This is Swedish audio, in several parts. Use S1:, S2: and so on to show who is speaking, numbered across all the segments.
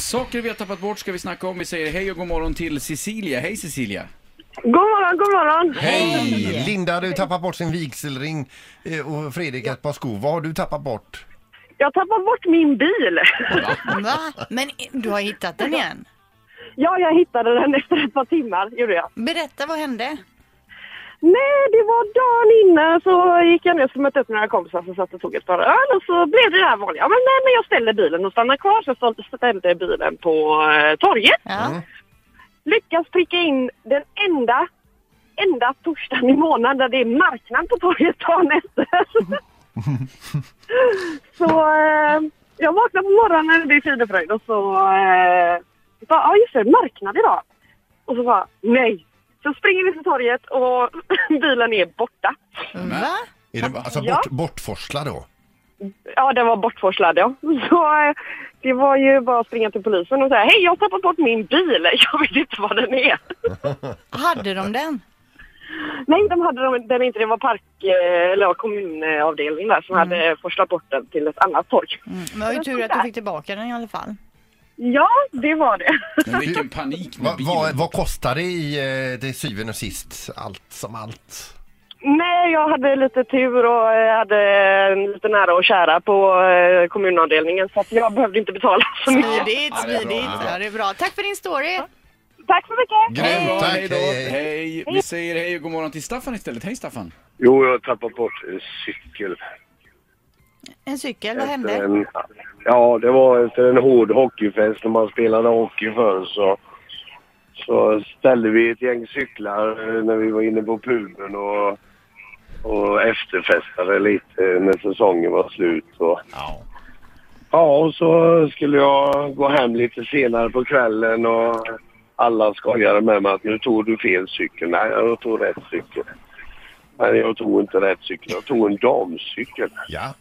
S1: Saker vi har tappat bort ska vi snacka om. Vi säger hej och god morgon till Cecilia. Hej Cecilia!
S2: God morgon, god morgon.
S3: Hej! Linda hade ju tappat bort sin vigselring eh, och Fredrik ett par skor. Vad har du tappat bort?
S2: Jag tappade bort min bil.
S4: Va? Men i- du har hittat den igen?
S2: Ja, jag hittade den efter ett par timmar, gjorde jag.
S4: Berätta, vad hände?
S2: Nej, det var dagen innan så gick jag ner och mötte upp några kompisar som satt och tog ett par öl och så blev det det här vanliga. Men nej, men jag ställde bilen och stannade kvar. Så jag stod- ställde bilen på eh, torget.
S4: Ja.
S2: Lyckas pricka in den enda, enda torsdagen i månaden där det är marknad på torget dagen efter. så eh, jag vaknade på morgonen, det är fridefröjd och så... Eh, bara, ja just det, marknad idag. Och så bara, nej. Så springer vi till torget och bilen är borta.
S4: Va?
S3: Är den alltså
S2: Ja.
S3: bort, bortforslad då?
S2: Ja, den var bortforslad ja. Så eh, det var ju bara att springa till polisen och säga hej jag har tappat bort min bil, jag vet inte var den är.
S4: Hade de den?
S2: Nej, de hade de, den inte, det var park eh, eller ja, kommunavdelningen där som hade forslat bort den till ett annat torg.
S4: Mm. Men det var ju tur att du fick tillbaka den i alla fall.
S2: Ja, det var det.
S1: Men vilken panik med
S3: Vad
S1: bilen.
S3: vad- vad kostar det i eh, till syvende och sist? Allt som allt.
S2: Nej, jag hade lite tur och eh, hade eh, lite nära och kära på eh, kommunavdelningen så att jag behövde inte betala så mycket.
S4: Smidigt,
S1: Ja, det är bra,
S4: smidigt.
S1: det är bra.
S4: Ja, det är bra. Tack för din story.
S2: Tack så mycket!
S3: Grymt,
S1: Bra,
S3: tack!
S1: hej, då.
S3: Hej, hej.
S1: hej! Vi säger hej och god morgon till Staffan istället. Hej Staffan!
S5: Jo, jag har tappat bort en cykel.
S4: En cykel, vad
S5: Efter
S4: hände?
S5: En, ja, det var efter en hård hockeyfest när man spelade hockey förr så, så ställde vi ett gäng cyklar eh, när vi var inne på puben och, och efterfestade lite när säsongen var slut. Och,
S3: Ja.
S5: ja, och så skulle jag gå hem lite senare på kvällen och alla skojade med mig att nu tog du fel cykel. Nej, jag tog rätt cykel. Men jag tog inte rätt cykel. Jag tog en damcykel.
S3: ja.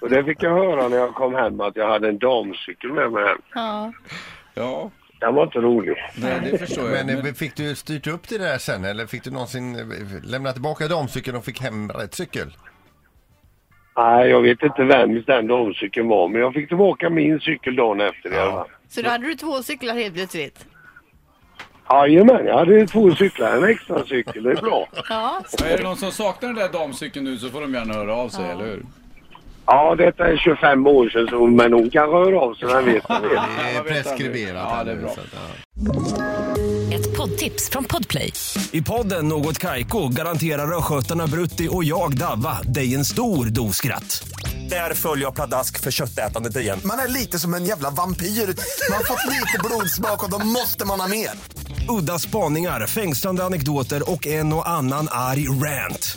S5: Och det fick jag höra när jag kom hem att jag hade en damcykel med mig hem.
S4: Ja.
S1: Ja,
S5: Den var inte rolig.
S1: nej, det förstår jag.
S3: Men
S1: Men,
S3: eh, fick du styrt upp det där sen eller fick du någonsin eh, lämnat tillbaka damcykeln och fick hem rätt cykel?
S5: Nej, jag vet inte vems den damcykeln var, men jag fick tillbaka min cykel dagen efter i alla fall.
S4: Så då hade du två cyklar helt plötsligt?
S5: Jajamän, jag hade två cyklar, en extra cykel, det är bra.
S4: Ja.
S1: är det någon som saknar den där damcykeln nu så får de gärna höra av sig, eller hur?
S5: Ja, detta är 25 år sedan, så, men hon kan röra av sig, den vet jag. vet.
S3: Det är
S1: vad vet han nu?
S3: preskriberat
S1: Ja,
S3: här
S1: det är
S3: nu,
S1: bra.
S3: så att, ja.
S6: Ett poddtips från Podplay.
S7: I podden Något Kaiko garanterar östgötarna Brutti och jag, Davva, dig en stor dos skratt. Där följer jag pladask för köttätandet igen.
S8: Man är lite som en jävla vampyr. Man har fått lite blodsmak och då måste man ha mer.
S7: Udda spaningar, fängslande anekdoter och en och annan arg rant.